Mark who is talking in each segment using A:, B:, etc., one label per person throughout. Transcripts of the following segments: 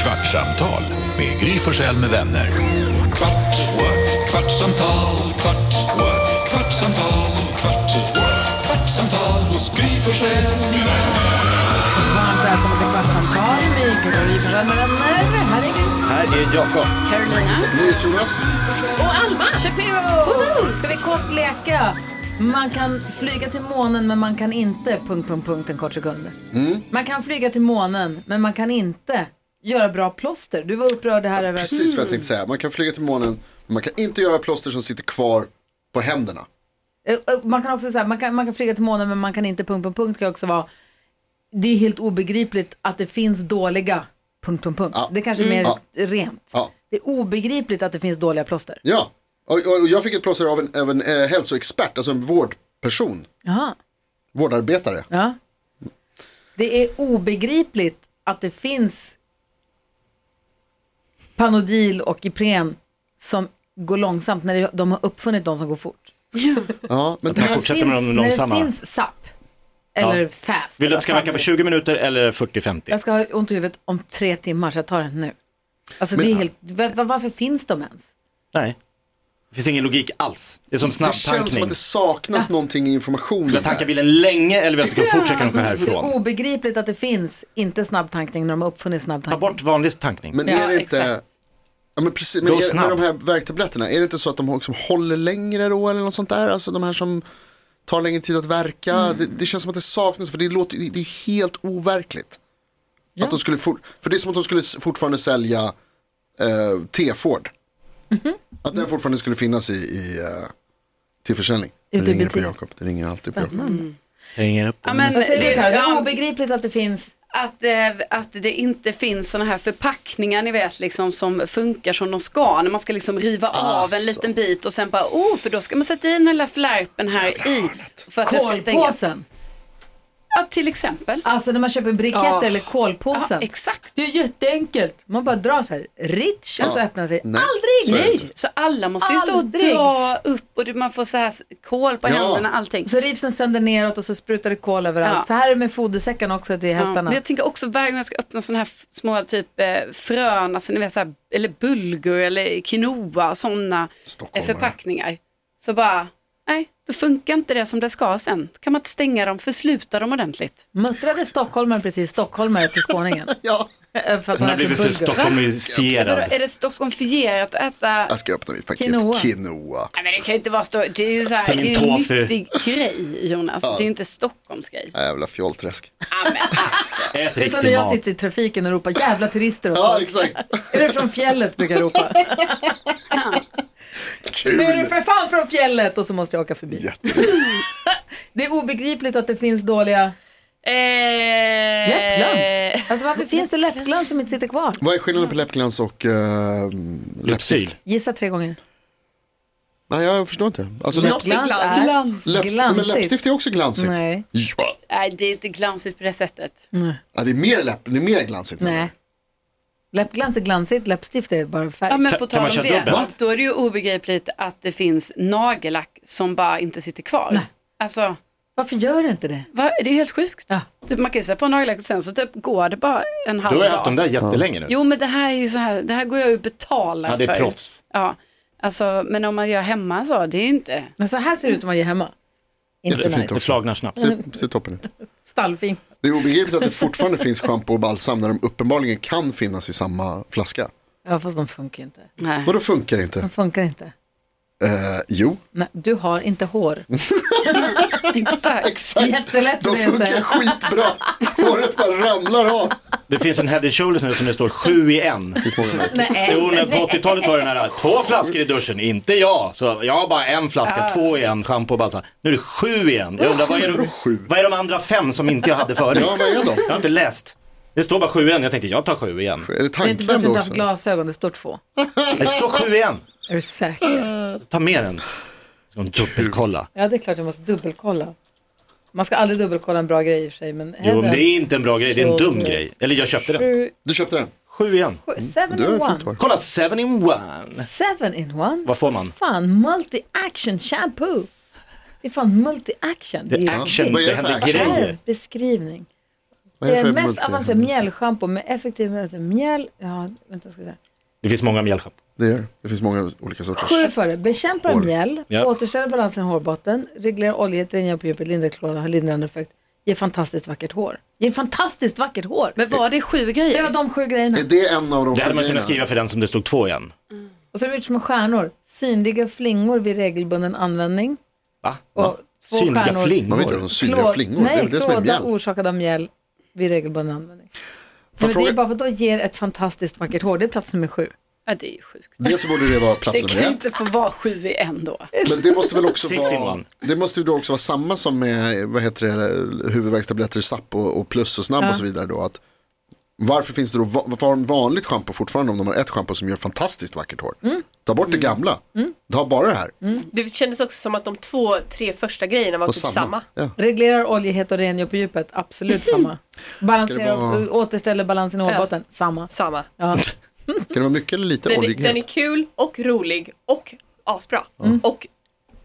A: Kvartsamtal med Gry Forssell med vänner. Kvart, what? kvartsamtal, kvart, what? kvartsamtal, kvart, what? kvartsamtal hos Gry Forssell med vänner.
B: Varmt välkomna till Kvartsamtal med Gry Forssell med vänner. Här är Gry.
C: Här är Jakob.
B: Carolina.
C: Jonas.
B: Och Alma. Shapiro. Woho! Ska vi kort leka? Man kan flyga till månen men man kan inte... Punkt, punkt, punkt, en kort sekund.
D: Mm.
B: Man kan flyga till månen men man kan inte göra bra plåster. Du var upprörd här över...
D: Precis vad jag tänkte säga. Man kan flyga till månen, men man kan inte göra plåster som sitter kvar på händerna.
B: Eh, eh, Man kan också säga, man kan, man kan flyga till månen men man kan inte... Punkt, punkt, punkt kan också vara... Det är helt obegripligt att det finns dåliga... Punkt, punkt, punkt. Det kanske är mer
D: Ja.
B: rent.
D: Ja,
B: Det är obegripligt att det finns dåliga plåster.
D: ja. Och, och, och jag fick ett plåster av en, av en eh, hälsoexpert, alltså en vårdperson,
B: Jaha.
D: vårdarbetare.
B: Ja. Det är obegripligt att det finns Panodil och Ipren som går långsamt när det- de har uppfunnit de som går fort.
D: Ja, men det
C: Man
D: här,
C: fortsätter
B: finns,
C: med de
B: När
C: långsamma.
B: det finns SAP eller
C: Ja.
B: FAST.
C: Vill du
B: eller
C: att det ska
B: vad fan
C: verka på
B: det är.
C: 20 minuter eller 40-50?
B: Jag ska ha ont i huvudet om tre timmar så jag tar den nu. Alltså det är helt, va- va- varför finns de ens?
C: Nej. Det finns ingen logik alls. Det är som
D: det känns som
C: snabbtankning.
D: att det saknas någonting i informationen.
C: Jag tankar
D: här.
C: bilen länge eller vill att jag ska fortsätta kunna åka
B: Det är
C: härifrån.
B: obegripligt att det finns inte snabbtankning när de har uppfunnit
C: Ta
B: snabbtankning.
C: bort vanlig tankning.
D: Men
B: Ja,
D: är det inte...
B: exakt.
D: Ja, men precis, men
C: Gå
D: är, med
C: snabb.
D: de här värktabletterna, är det inte så att de liksom håller längre då eller något sånt där? Alltså de här som tar längre tid att verka. Det, det känns som att det saknas för det, låter, det är helt overkligt. Att de skulle for, för det är som att de skulle s- fortfarande sälja eh, T-Ford. Att den fortfarande skulle finnas i, i eh, till försäljning. Det
B: Ute i
D: ringer på
B: butik.
D: Jakob, det ringer alltid på Jakob.
C: Hänger upp.
E: Ja,
D: Mm.
E: men
B: Vad säger
E: det,
B: du, Karo? det är
E: ja,
B: obegripligt att det finns
E: att, eh, att det inte finns sådana här förpackningar ni vet liksom som funkar som de ska. När man ska liksom riva av en
D: Alltså.
E: liten bit och sen bara oh för då ska man sätta i den här lilla flärpen här i. För att den ska stängas.
B: kolpåsen.
E: Ja till exempel.
B: Alltså när man köper briketter
E: Ja.
B: eller kolpåsen.
E: Ja, exakt.
B: det är jätteenkelt. Man bara drar så här, rich, och så öppnar sig.
D: Nej, så är
B: Aldrig!
D: det
B: Nej!
D: inte.
E: Så alla måste ju stå och
B: Aldrig.
E: dra upp och du- man får så här kol på
D: Ja.
E: händerna allting.
B: Så rivs den sönder neråt och så sprutar det kol överallt.
E: Ja.
B: Så här är det med fodersäcken också till
E: Ja,
B: hästarna.
E: men jag tänker också varje gång jag ska öppna sådana här f- små typ eh, frön, alltså, ni vet, så här, eller bulgur eller quinoa, sådana
D: Stockholmare.
E: förpackningar. Så bara, nej, då funkar inte det som det ska sen. Då kan man inte stänga dem, försluta dem ordentligt.
B: Muttrade stockholmaren precis stockholmare till skåningen?
D: Ja,
B: Eh, för att
C: Hon
B: hon
C: har
B: äter
C: blivit för
B: bulgur.
E: Vadå,
C: stockholmifierad.
E: är det stockholmfierat att äta?
D: jag ska öppna mitt paket
B: Quinoa.
D: quinoa.
E: Nej, men det kan ju inte vara stå... Det är ju så här,
C: Ta min
E: det är ju en
C: tofu.
E: nyttig grej Jonas. Det är ju inte Stockholms grej.
D: Jävla fjollträsk.
E: Ja, men alltså.
C: Ät
B: Det är som
C: riktig
B: när jag
C: mat.
B: sitter i trafiken och ropar jävla turister åt
D: Ja,
B: folk.
D: exakt.
B: Är det från fjället brukar jag ropa?
D: Kul.
B: Nu är det för fan från fjället och så måste jag åka förbi. Det är obegripligt att det finns dåliga
E: Eh...
B: läppglans. Alltså varför finns det läppglans som inte sitter kvar?
D: Vad är skillnaden på läppglans och uh,
C: Lypsyl.
B: Gissa tre gånger.
D: Nej, jag förstår inte. Alltså, läpp,
E: Läppglans.
B: Glans är
E: Glans.
D: läpp, nej, men
B: glansigt.
D: läppstift är också glansigt.
B: Nej.
D: Ja.
E: Nej, det är inte glansigt på det sättet.
D: Ja, det, är mer läpp, det är mer glansigt.
B: Nej. Läppglans är glansigt, läppstift är bara färg.
E: Ja, men
C: Kan-
E: på
C: kan
E: tal
C: man
E: om
C: köra
E: det,
C: dubbelt?
E: då är det ju obegripligt att det finns nagellack som bara inte sitter kvar. Alltså,
B: Varför gör du inte det?
E: va? det är helt sjukt.
B: Ja.
E: Typ, man kan ju sätta på nagellack och sen så typ går det bara en halv
C: Du har ju
E: dag.
C: haft dem där jättelänge nu.
E: Jo, men det här är ju så här, det här går jag ju och betalar
C: Ja, det är
E: för.
C: proffs.
E: Ja, alltså, men om man gör hemma så, det är ju inte...
B: Men så här ser det ut om man gör hemma. Inte
D: Det är
B: nice.
D: fint
C: Det
D: också.
C: flagnar snabbt.
D: Ser, ser toppen ut.
B: Stallfing.
D: Det är obegripligt att det fortfarande finns schampo och balsam när de uppenbarligen kan finnas i samma flaska.
B: Ja fast de funkar ju inte.
E: Nej.
D: Vadå funkar det inte?
B: De funkar inte.
D: Eh, jo,
B: Nej, du har inte hår.
E: Exakt.
D: exakt.
B: Jättelätt för
D: De
B: dig att
D: funkar
B: säga.
D: skitbra. Håret bara ramlar av.
C: Det finns en head and shoulders nu som det står sju i en. Jo, när på 80-talet var det den här, två flaskor i duschen, inte jag. Så jag har bara en flaska, två i en, schampo och balsam. Nu är det sju i en. Jag undrar, vad är, de, vad är de andra fem som inte jag hade förut?
D: Ja, vad är de?
C: Jag har inte läst. Det står bara sju i en, jag tänkte jag tar sju i en.
D: Är det
B: Det är inte bara
D: tandkräm
B: att du inte
D: då
B: har
D: också?
B: glasögon, det står två.
C: Det står sju i en.
B: Är du säker?
C: Ta med den. Ska hon dubbelkolla?
B: Ja det är klart jag måste dubbelkolla. Man ska aldrig dubbelkolla en bra grej i och för sig men
C: Jo, men det är inte en bra grej, det är en dum grej. Eller jag köpte den.
B: Sju,
D: Du köpte den?
C: Sju i en.
B: sju, seven
D: Du
B: in
D: Mm. har fint
B: one.
D: hår.
C: Kolla, seven in one.
B: Seven in one.
C: Vad får man?
B: Fan, multi-action shampoo. Det är fan multi-action.
C: Det är
B: ju
C: action,
B: viktigt.
D: Vad är
C: det
D: det för
C: händer
D: action?
C: grejer.
B: Här, Beskrivning.
D: Vad är det för
B: mest
D: multi-
B: avancerade mjällschampo med effektiv mjäll. Ja, vänta, ska jag säga.
C: Det finns många mjällschampo.
D: Det gör det. Det finns många olika sorters.
B: Sju för det. Bekämpar
D: Hår.
B: mjäll,
C: Ja.
B: återställer balansen i hårbotten, reglerar oljigt, rengör på djupet, lindrar klådan, har lindrande effekt, ger fantastiskt vackert hår. Ger fantastiskt vackert hår.
E: Men var det sju grejer?
B: Det var de sju grejerna.
D: Är det en av de
C: Det hade man kunnat
D: grejerna?
C: skriva för den som det stod två i en.
B: Och så har de gjort små stjärnor. Synliga flingor vid regelbunden användning.
C: Va?
B: Och två
C: Synliga
B: stjärnor.
D: Man vet inte
C: flingor.
D: om de synliga
B: Klå-
D: flingor. det är
B: Nej,
D: väl det som är
B: klåda
D: mjäll.
B: orsakad av mjäll vid regelbunden användning.
D: Får
B: Men
D: jag
B: det är
D: fråga,
B: bara för att då ger ett fantastiskt vackert hår. Det är plats nummer sju.
E: Ja, det är ju sjukt.
D: dels så borde det vara plats
E: Det
D: nummer
E: kan ju
D: ett.
E: inte få vara sju i en då.
D: Men det måste väl också
C: Six in
D: vara,
C: one.
D: det måste ju då också vara samma som med vad heter det, huvudvärkstabletter, SAP och, och plus och snabb och så vidare då. Att varför finns det då, va- varför har de vanligt schampo fortfarande om de har ett schampo som gör fantastiskt vackert hår?
B: Mm.
D: Ta
C: Mm.
D: bort det gamla, ta bara det här.
F: Det kändes också som att de två, tre första grejerna var
D: Och
F: typ samma.
D: Ja.
B: Reglerar oljighet och rengör på djupet. Absolut samma. Balanserar,
D: vara-
B: återställer balansen i hårbotten. Samma.
F: samma.
B: Ja.
D: Ska det vara mycket eller lite
F: Den, är, den är
D: oljighet?
F: kul och rolig och asbra.
D: Mm.
F: Och,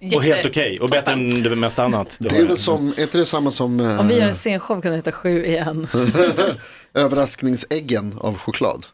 F: jätte-
C: Och helt okej. Och bättre än det mesta annat. du
D: Det
C: har.
D: är väl som, är inte det samma som eh,
B: Om vi gör en scenshow kan det heta sju igen.
D: överraskningsäggen av choklad?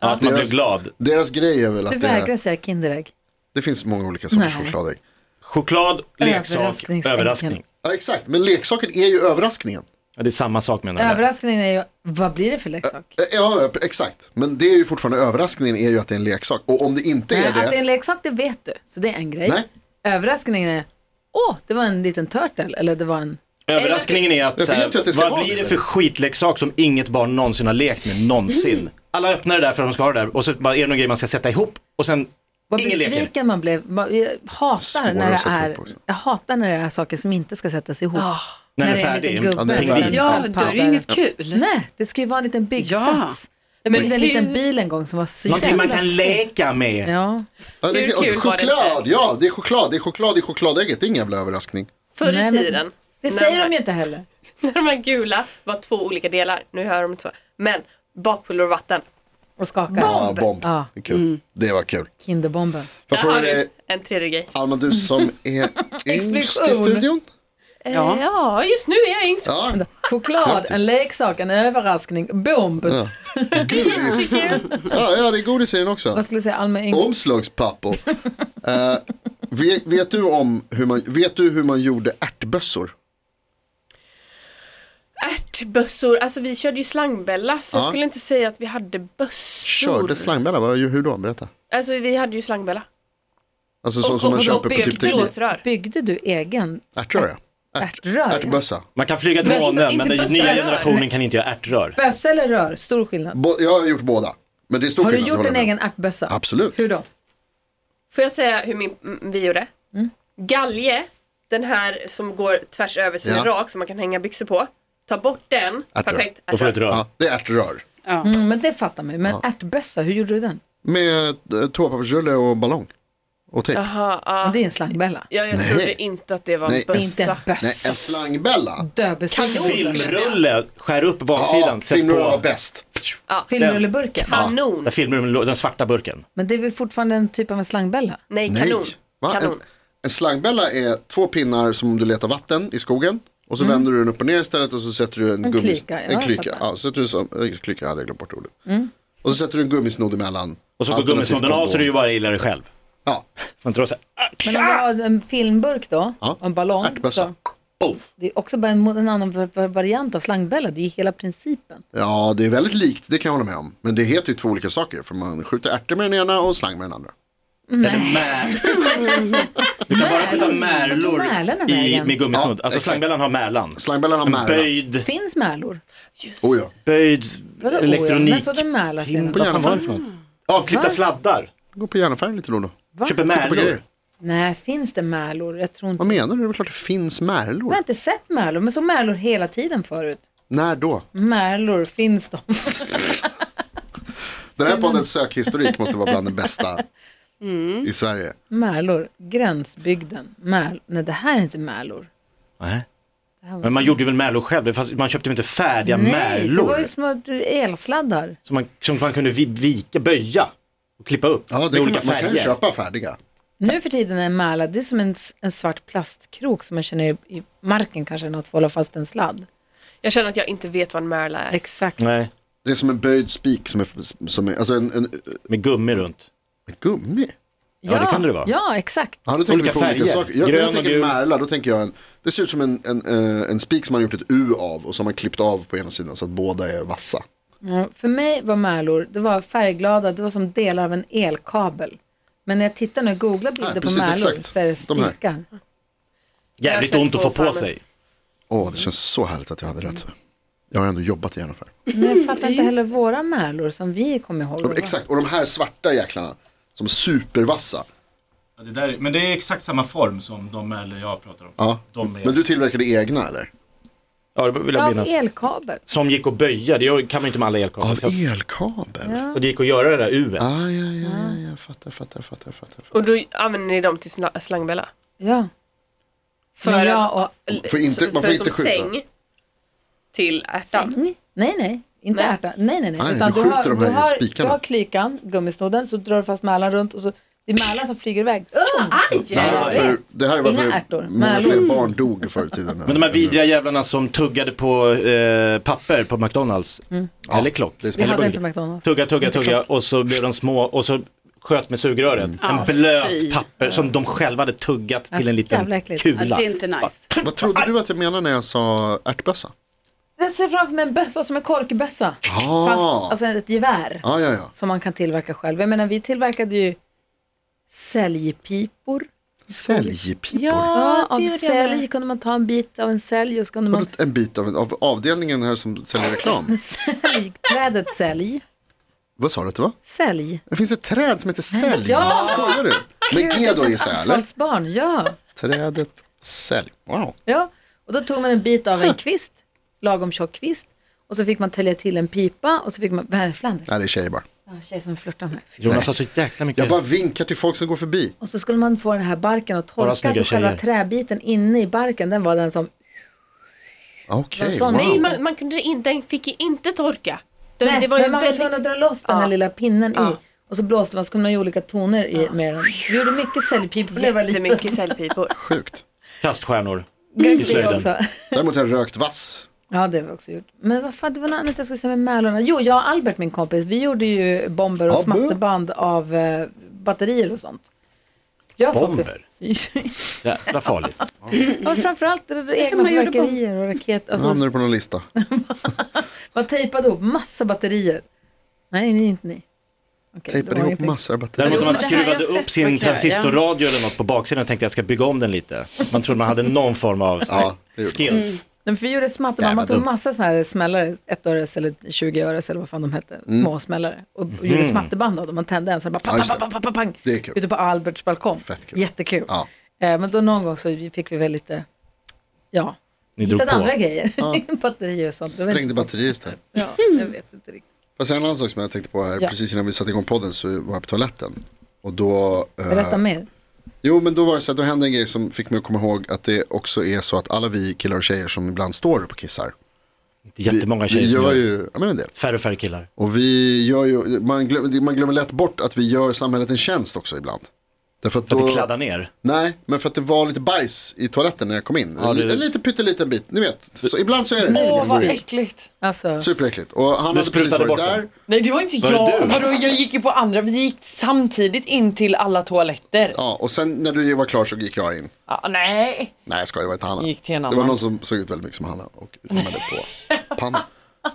C: Ja, att man blir
D: Deras-
C: glad.
D: Deras grej är väl
B: Du
D: att det,
B: vägrar
D: är,
B: säga Kinderägg.
D: det finns många olika sorters
B: Nej.
D: chokladägg.
C: Choklad, leksak,
B: Överraskningsänken.
C: överraskning.
D: Ja exakt, men leksaken är ju överraskningen.
C: Ja, det är samma sak menar jag.
B: Överraskningen är ju, vad blir det för leksak?
D: Eh, Ja, exakt. Men det är ju fortfarande överraskningen är ju att det är en leksak. Och om det inte
B: Nej,
D: är
B: Att det är
D: det,
B: en leksak det vet du, så det är en grej.
D: Nej.
B: Överraskningen är, åh, det var en liten turtle eller det var en...
C: Överraskningen är att,
D: Jag
C: så här,
D: vet ju att det ska
C: vad
D: vara
C: blir
D: det.
C: det för skitleksak som inget barn någonsin har lekt med någonsin?
D: Mm.
C: Alla öppnar det där för att de ska ha det där och så bara, är det någon grej man ska sätta ihop och sen
B: Vad
C: ingen leker.
B: besviken man blev. Vad- Jag hatar,
D: Svårare
B: när det
D: att sätta
B: är,
D: ihop också.
B: jag hatar när det är saker som inte ska sättas ihop.
C: När den
B: det
C: är
B: är en
C: färdig.
B: liten
C: Ja,
B: gubbe.
D: den är
B: eller en
D: färdig.
E: Ah. Ja,
B: liten
E: då är det ju inget
B: powder.
E: kul.
B: Nej, det ska ju vara en liten byggsats. Jag byggde en
F: hur-
B: liten bil en gång som var så
C: Någonting man
B: jävla
C: kan leka med.
B: Ja,
D: ja, det
F: Hur
D: är,
F: kul var det
D: choklad,
F: inte?
D: ja det är choklad, det är choklad i chokladägget, det är ingen jävla överraskning.
F: Förr
B: Nej,
F: i
B: men-
F: tiden,
B: det
F: när
B: säger
F: här-
B: de ju inte heller.
F: när de här gula var två olika delar, nu hör de inte så, men bakpulver och vatten.
B: Och skakar.
D: Ja, Ah, bomb.
B: Ja.
D: Det, är kul. det var kul.
B: Kinderbomben.
D: Får
F: Där
D: jag fråga
F: har
D: dig,
F: du en tredje grej.
D: Alma du som är yngst i
B: Explosion.
D: studion?
F: Eh, Ja, just nu är jag yngst.
D: Ja,
B: Choklad,
D: Grattis.
B: en leksak, en överraskning, bomb.
D: godis. Ja, ja det är godis i den också.
B: Vad skulle jag säga, Alma Eng...
D: Omslagspapper. Eh, vet, vet, du om hur man, vet du hur man gjorde ärtbössor?
F: Ärtbössor, alltså vi körde ju slangbella så jag
D: Ja.
F: skulle inte säga att vi hade bössor.
D: Körde slangbella, vad- hur då? Berätta.
F: Alltså vi hade ju slangbella.
D: Alltså så
F: Och-
D: som
F: och-
D: man
F: och
D: köper på typ
F: byggde
D: Teknik.
F: blåsrör.
B: Byggde du egen
D: Ärtröra. Ärt,
B: ärtrör?
D: ärtbössa.
C: Man kan flyga till
F: Men-
C: månen
F: inte
C: men den
F: bussar.
C: nya generationen kan inte göra ärtrör.
B: Bössa eller rör, stor skillnad.
D: Bo- Jag har gjort båda. Men det är stor
B: Har du
D: skillnad.
B: gjort
D: håller
B: en
D: jag med
B: egen ärtbössa?
D: Absolut.
B: Hur då?
F: Får jag säga hur min, mm, vi gjorde? Galge, den här som går tvärs över så den är
D: Ja.
F: rak som man kan hänga byxor på. Ta bort den,
D: Ärtrör.
F: perfekt.
C: Då får du ett
F: ärtrör.
C: rör.
D: om. Ja, det är ärtrör.
B: Mm, men det fattar man ju. Men ärtbössa, hur gjorde du den?
D: Med eh, toapappersrulle och ballong. Och tejp.
F: Jaha, ja.
B: Det är en slangbella.
F: ja, jag trodde inte att det var en
D: Nej,
B: Inte en
F: bössa.
D: Nej, en
B: bössa.
D: slangbella.
B: Döbesviken.
C: Filmrulle, skär upp baksidan,
D: Ja,
C: sätt
D: filmrullen var
C: på.
D: bäst.
B: Filmrulleburken.
F: Kanon.
C: Där filmrullen, lå- den svarta burken.
B: Men det är väl fortfarande en typ av en slangbella?
F: Nej,
D: Nej.
F: kanon.
D: Va? En,
F: Kanon.
D: en slangbella är två pinnar som du letar vatten i skogen. Och så vänder du den upp och ner istället och så sätter du en,
B: Mm. En
D: gummis-
B: klyka, ja,
D: En
B: jag
D: klyka.
B: fattar. Mm.
D: Ja, så sätter du som, eh, klyka, jag hade glömt bort ordet. Och så sätter du en gummisnodd emellan.
C: Och så går
D: Alternativt
C: gummisnodden av
D: kondom.
C: så du ju bara gillar dig själv.
D: Ja,
C: Man tror så här, "Ah,
B: Men om jag har en filmburk då,
D: Ja.
B: och en ballong.
D: Ärtbössa.
B: så-
C: poff.
B: Det är också bara en, en annan var- var- variant av slangbella. Det är ju hela principen.
D: Ja, det är väldigt likt, det kan jag hålla med om. Men det heter ju två olika saker, för man skjuter ärtor med den ena och slang med den andra.
C: Eller mär. Du kan bara skjuta
B: Vart tog
C: märlor
B: märlorna
C: i,
B: vägen?
C: med gummisnodd.
D: Ja,
C: Alltså
D: exakt.
C: slangbällan har märlan.
D: Slangbällan har märla.
C: Böjd,
B: Finns märlor?
D: Oh, ja.
C: böjd
B: Vadå, oj,
C: elektronik.
B: när såg du märla senast?
C: Vad fan var det för något? Avklippta
B: Va?
C: sladdar.
D: Gå på järnaffären lite då och då.
C: Köper
D: Titta på
C: märlor.
D: grejer.
B: Nej, finns det märlor? Jag tror inte...
D: Vad menar du? Det är väl klart det finns märlor.
B: Jag har inte sett märlor, men så märlor hela tiden förut.
D: När då?
B: Märlor, finns de?
D: Den här poddens sökhistorik måste vara bland den bästa i Sverige.
B: Märlor, gränsbygden, märl... Nej, det här är inte märlor.
C: Nej. Men man gjorde ju väl märlor själv, Det fanns- man köpte ju inte färdiga
B: Nej, det
C: märlor.
B: var ju små elsladdar.
C: som, man, som man kunde vi- vika, böja och klippa upp
D: Ja, det
C: med
D: kan
C: olika
D: man, man kan ju
C: färger.
D: köpa färdiga.
B: Nu för tiden är en märla, det är som en, s- en svart plastkrok som man känner i, i marken kanske, något för att hålla fast en sladd.
F: Jag känner att jag inte vet vad en märla är.
B: Exakt.
C: Nej,
D: Det är som en böjd spik som är, som är alltså en, en,
C: med gummi runt.
D: en gummi.
C: Ja, det kan det vara.
B: Ja, exakt.
D: Ja, då tänker
C: Olika
D: vi på olika
C: färger.
D: saker. Jag, när
C: Grön
D: jag
C: och
D: tänker
C: gul.
D: märla, då tänker jag en, det ser ut som en, en, eh, en spik som man har gjort ett U av och som man klippt av på ena sidan så att båda är vassa.
B: Mm, För mig var märlor, det var färgglada, det var som delar av en elkabel. Men när jag tittar nu och googlar bilder
D: Nej,
B: på
D: precis,
B: märlor
D: exakt.
B: så är det
D: De här.
B: spikar.
C: Jävligt
F: Jag har
C: ont att
F: sett
C: få
F: två
C: på
F: framme.
C: sig.
D: Åh, det känns så härligt att jag hade rätt. Jag har ändå jobbat i en affär.
B: Men jag fattar inte heller våra märlor som vi kommer ihåg.
D: De, exakt, och de här svarta jäklarna som är supervassa.
G: Ja, det där, men det är exakt samma form som de eller jag pratar om.
D: Ja.
G: De är,
D: Men du tillverkade egna eller?
C: Ja, det vill jag
B: Av
C: minnas.
B: elkabel.
C: Som gick att böja, det gör- kan man ju inte med alla
D: Av
C: elkablar.
D: elkabel?
C: Så det gick att göra det där u
D: Ah, ja, ja, ja, ja, fattar, fattar, fattar, fattar.
F: Och då använder ni dem till sla- slangbella?
B: Ja.
F: För
B: Men
F: att-
B: jag och
D: Får inte- man får
F: för
D: inte
F: som
D: skjuta.
F: säng till ärtan.
B: Mm. Nej, nej, inte
F: Nej.
B: ärta. Nej, nej, nej.
D: Nej,
B: Utan
D: du skjuter de här
B: du har, du
D: spikarna.
B: har klykan, gummisnodden, så drar du fast mälan runt och så det är mälan som flyger iväg. Tjong!
F: Aj!
D: Det här är varför, det här är
B: Inga
D: varför
B: ärtor.
D: många
B: Nej.
D: fler barn dog förr i tiden.
C: Men de här vidriga jävlarna som tuggade på eh, papper på McDonalds. Eller klock.
D: det är
B: Mm.
D: smart.
B: Vi
C: Eller
B: hade
C: burger.
B: inte McDonalds.
C: Tugga, tugga, tugga och så blev de små och så sköt med sugröret. En blöt papper som de själva hade tuggat till
B: Alltså,
C: en
B: jävla
C: liten
B: äckligt.
E: Ja,
C: kula.
E: det är inte nice.
D: Vad trodde du att jag menade när jag sa ärtbössa?
B: Jag ser framför mig en bössa som en korkbössa.
D: Ah.
B: Fast alltså ett gevär
D: Ja, ja, ja.
B: som man kan tillverka själv. Jag menar, vi tillverkade ju säljpipor.
D: Säljpipor.
B: Ja, av
F: det gjorde jag
B: sälj
F: med.
B: kunde man ta en bit av en sälj och så kunde
D: Vadå,
B: man...
D: En bit av, av avdelningen här som säljer reklam.
B: Sälj, trädet sälj.
D: Vad sa du att det var?
B: Sälj.
D: Det finns ett träd som heter sälj.
B: Ja.
D: Skojar du? Med G då gissar jag, eller?
B: Ansvarsbarn, ja.
D: Trädet sälj. Wow.
B: Ja, och då tog man en bit av en kvist, lagom tjock kvist. Och så fick man tälja till en pipa och så fick man, vad är det, Flanders?
D: Nej, det är tjejer bara.
B: Ja, tjej som flörtar med. Fy.
C: Jonas har så jäkla mycket.
D: Jag bara vinkar till folk som går förbi.
B: Och så skulle man få den här barken att torka,
C: Bara
B: så
C: snygga
B: själva
C: tjejer.
B: träbiten inne i barken, den var den som,
D: Ah, Okej,
B: Vad sa ni?
F: Nej,
D: wow.
F: man, man kunde inte, den fick ju inte torka. Den,
B: nej,
F: det var ju
B: men man var
F: väldigt...
B: tvungen att dra loss den här
F: Ja.
B: lilla pinnen i.
F: Ja.
B: Och så blåste man, så kunde man göra olika toner i, med den. Vi gjorde mycket säljpipor när jag var liten.
F: Jättemycket säljpipor.
D: Sjukt.
C: Kaststjärnor.
B: Mycket
C: i slöjden.
B: också.
D: Däremot har jag rökt vass.
B: Ja, det har vi också gjort. Men vad fan, det var något annat jag skulle säga med Mälorna. Jo, jag och Albert, min kompis, vi gjorde ju bomber och
D: Ja, bö.
B: smatterband av eh, batterier och sånt. Jag har fått det-
C: Bomber. Jävla farligt.
B: Ja, framförallt det där egna
E: man gjorde
B: fyrverkerier och raketer.
D: Nu
B: Alltså,
D: hamnar du på någon lista.
B: man tejpade ihop massa batterier. Nej, ni är inte ni. Okej, det var
D: Tejpade ihop
B: ingenting.
D: massor av batterier.
C: Däremot om man
E: men det här har jag
C: skruvade
E: sett
C: upp
E: på
C: sin
E: knä, ja.
C: transistorradio eller något på baksidan tänkte jag ska bygga om den lite. Man trodde man hade någon form av
D: Ja, det gjorde
C: skills.
B: Men för vi gjorde smatterband,
C: Jävla
B: man tog
C: dumt.
B: massa så här smällare, ettöres eller 20-öres eller vad fan de hette, små smällare. Och, och gjorde smatterband av dem, man tände en så här bara
D: Mm. Ja,
B: pang,
D: just
B: pang,
D: det.
B: pang, pang, pang, pang,
D: Det är kul.
B: ute på Alberts balkong.
D: Fett kul.
B: Jättekul.
D: Ja.
B: Eh, men då någon gång så fick vi väl lite, ja,
C: Ni drog
B: hittade
C: på.
B: andra grejer. Batterier och sånt. Det var inte så-
D: Sprängde batterier istället.
B: Ja, jag vet inte riktigt.
D: Fast en annan sak som jag tänkte på här,
B: Ja.
D: precis innan vi satte igång podden så var jag på toaletten. Och då... eh,
B: Berätta mer.
D: Jo, men då var det så att då hände en grej som fick mig att komma ihåg att det också är så att alla vi killar och tjejer som ibland står upp och kissar.
C: Det är jättemånga tjejer
D: vi
C: som
D: gör
C: gör
D: ju, ja men en del.
C: Färre och färre killar.
D: Och vi gör ju, man glömmer, man glömmer lätt bort att vi gör samhället en tjänst också ibland. Därför att
C: För att det
D: då,
C: kladdar ner.
D: nej, men för att det var lite bajs i toaletten när jag kom in.
C: Ja,
D: en,
C: det-
D: li- en liten pytteliten bit, ni vet. Så ibland så är det.
B: Åh, vad
D: Mm.
H: Äckligt.
B: Alltså,
D: Superäckligt. Och han hade precis
C: sprutade
D: varit
C: bort
D: där.
C: den.
H: Nej det var inte
C: Var det
H: jag.
C: du?
H: Vadå, jag gick ju på andra, vi gick samtidigt in till alla toaletter.
D: Ja, och sen när du var klar så gick jag in.
H: Ah, nej.
D: Nej, jag skojar, det var inte Hanna.
H: Gick till en
D: Det var
H: annan.
D: någon som såg ut väldigt mycket som Hanna och rimmade på pannan.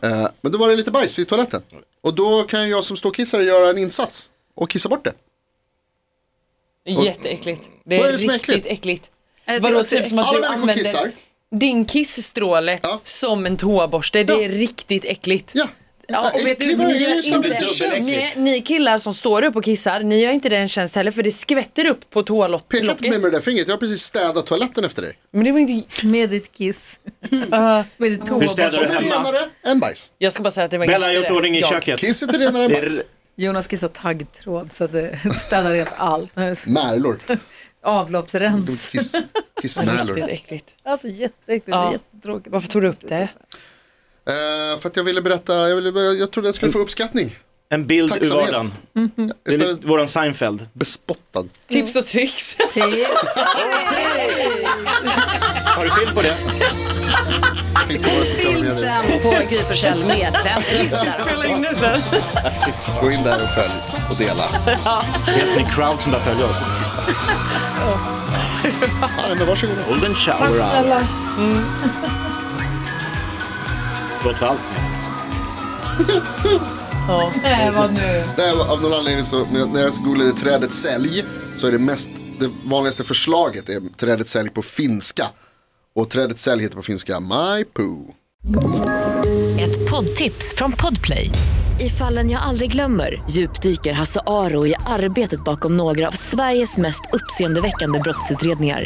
D: Eh, men då var det lite bajs i toaletten. Och då kan jag som ståkissare göra en insats och kissa bort det.
H: Jätteäckligt. Det är,
D: Vad är det som är
H: riktigt
D: äckligt?
H: äckligt.
B: Äh,
E: Jag
H: Vadå,
E: tycker-
H: typ som att
D: Alla
H: du
D: människor
H: använder
D: kissar.
H: din kissstråle
D: Ja.
H: som en toaborste. Det är riktigt äckligt.
D: Ja,
H: Ja, och vet du,
D: äcklig, det
H: ni,
D: är ju
H: gör
D: samhället
H: inte,
D: en tjänst.
H: ni,
C: Dubbeläckligt.
H: ni killar som står upp och kissar, ni gör inte det en tjänst heller för det skvätter upp på
D: Peka inte med
H: toalocket.
D: mig med det där fingret, jag har precis städat toaletten efter dig.
H: Men det var inte...
B: med ditt kiss. med ditt toaborste.
C: städar
D: Som
C: du
D: är
C: hemma?
D: renare än bajs.
H: Jag ska bara säga att det var
C: Bella har
H: inte
C: gjort
H: det.
C: ordning i
H: Jag-
C: köket.
D: Kisset är renare än
C: Det är-
D: bajs.
B: Jonas kissar taggtråd så att det städar rent allt.
D: Märlor.
B: Avloppsrens.
D: Kiss, kissmärlor.
H: Riktigt äckligt.
B: Alltså jätteäckligt,
H: Ja.
B: ja. jättetråkigt.
H: Varför tog du upp
B: Mm.
H: det?
D: Eh, för att jag ville berätta, jag, ville, jag trodde jag skulle få uppskattning.
C: En bild ur
D: Tacksamhet.
C: vardagen. Det är
D: Istället
C: lite våran Seinfeld.
D: bespottad.
H: Tips och tricks.
B: Tips.
C: Har du film på det?
D: Finns på våra sociala
E: Film
D: medier.
E: sen på Gry Forssell med vänner.
H: Spela in det sen.
D: Gå in där och följ och dela.
C: Vet ni crowd som börjar följa oss?
D: Ja, men varsågoda.
C: Golden shower hour.
H: Snälla.
C: Förlåt för allt.
B: Nej, vad nu?
D: Nej, av någon anledning så när jag- när jag googlade trädet sälj så är det mest, det vanligaste förslaget är trädet sälj på finska. Och trädet sälj heter på finska My Poo.
I: Ett poddtips från Podplay. I fallen jag aldrig glömmer djupdyker Hasse Aro i arbetet bakom några av Sveriges mest uppseendeväckande brottsutredningar.